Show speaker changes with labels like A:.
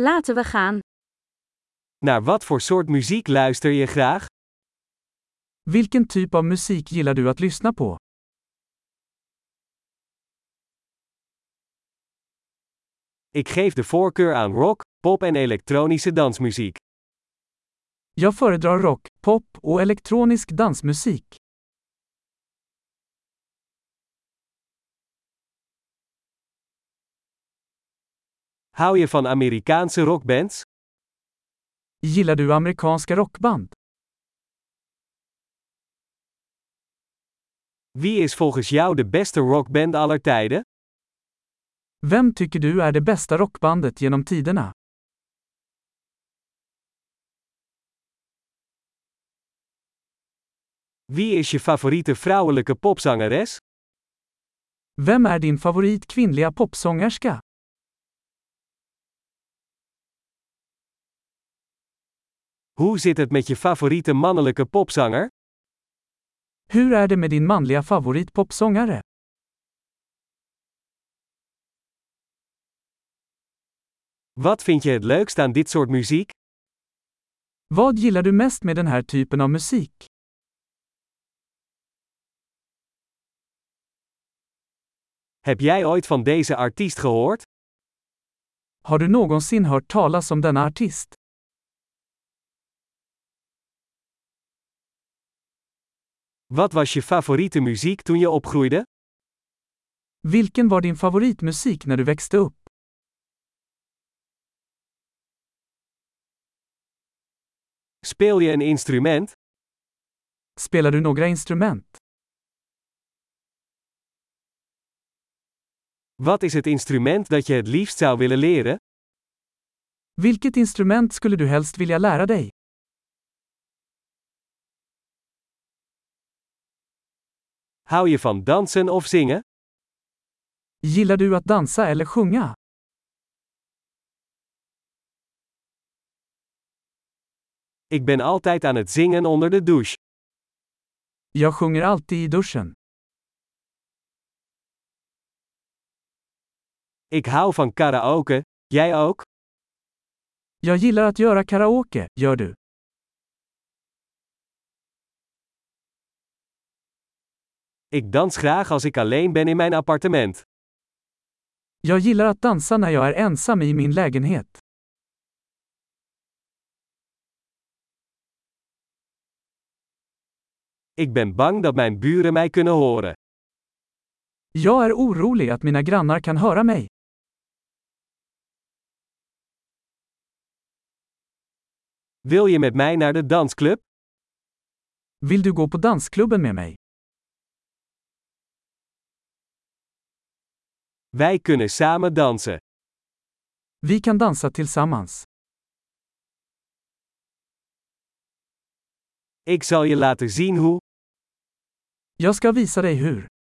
A: Laten we gaan.
B: Naar wat voor soort muziek luister je graag?
C: Vilken typ av musik gillar du att lyssna på?
B: Ik geef de voorkeur aan rock, pop en elektronische dansmuziek.
C: Jag föredrar rock, pop och elektronisk dansmusik.
B: Hou je van Amerikaanse rockbands?
C: Gillar du amerikanska rockband?
B: Wie is volgens jou de beste rockband aller tijden?
C: Vem tycker du är det bästa rockbandet genom tiderna?
B: Wie is je favoriete vrouwelijke popzangeres?
C: Vem är din favorit kvinnliga popsångerska?
B: Hoe zit het met je favoriete mannelijke popzanger?
C: Hur är det med din manliga favoritpopsångare?
B: Wat vind je het leukst aan dit soort muziek?
C: Vad gillar du mest med den här typen av musik?
B: Heb jij ooit van deze artiest gehoord?
C: Har du någonsin hört talas om denna artist?
B: Wat was je favoriete muziek toen je opgroeide?
C: Vilken var din favoritmusik när du växte upp?
B: Speel je een instrument?
C: Spelar du några instrument?
B: Wat is het instrument dat je het liefst zou willen leren?
C: Vilket instrument skulle du helst vilja lära dig?
B: Hou je van dansen of zingen?
C: Gillar du att dansa eller sjunga?
B: Ik ben altijd aan het zingen onder de douche.
C: Jag sjunger alltid i duschen.
B: Ik hou van karaoke, jij ook?
C: Jag gillar att göra karaoke, gör du?
B: Ik dans graag als ik alleen ben in mijn appartement.
C: Jag gillar att dansa när jag är ensam i min lägenhet.
B: Ik ben bang dat mijn buren mij kunnen horen.
C: Jag är orolig att mina grannar kan höra mig.
B: Wil je met mij naar de dansclub?
C: Vill du gå på dansklubben med mig?
B: Wij kunnen samen dansen.
C: Vi kan dansa tillsammans.
B: Ik zal je laten zien hoe.
C: Jag ska visa dig hur.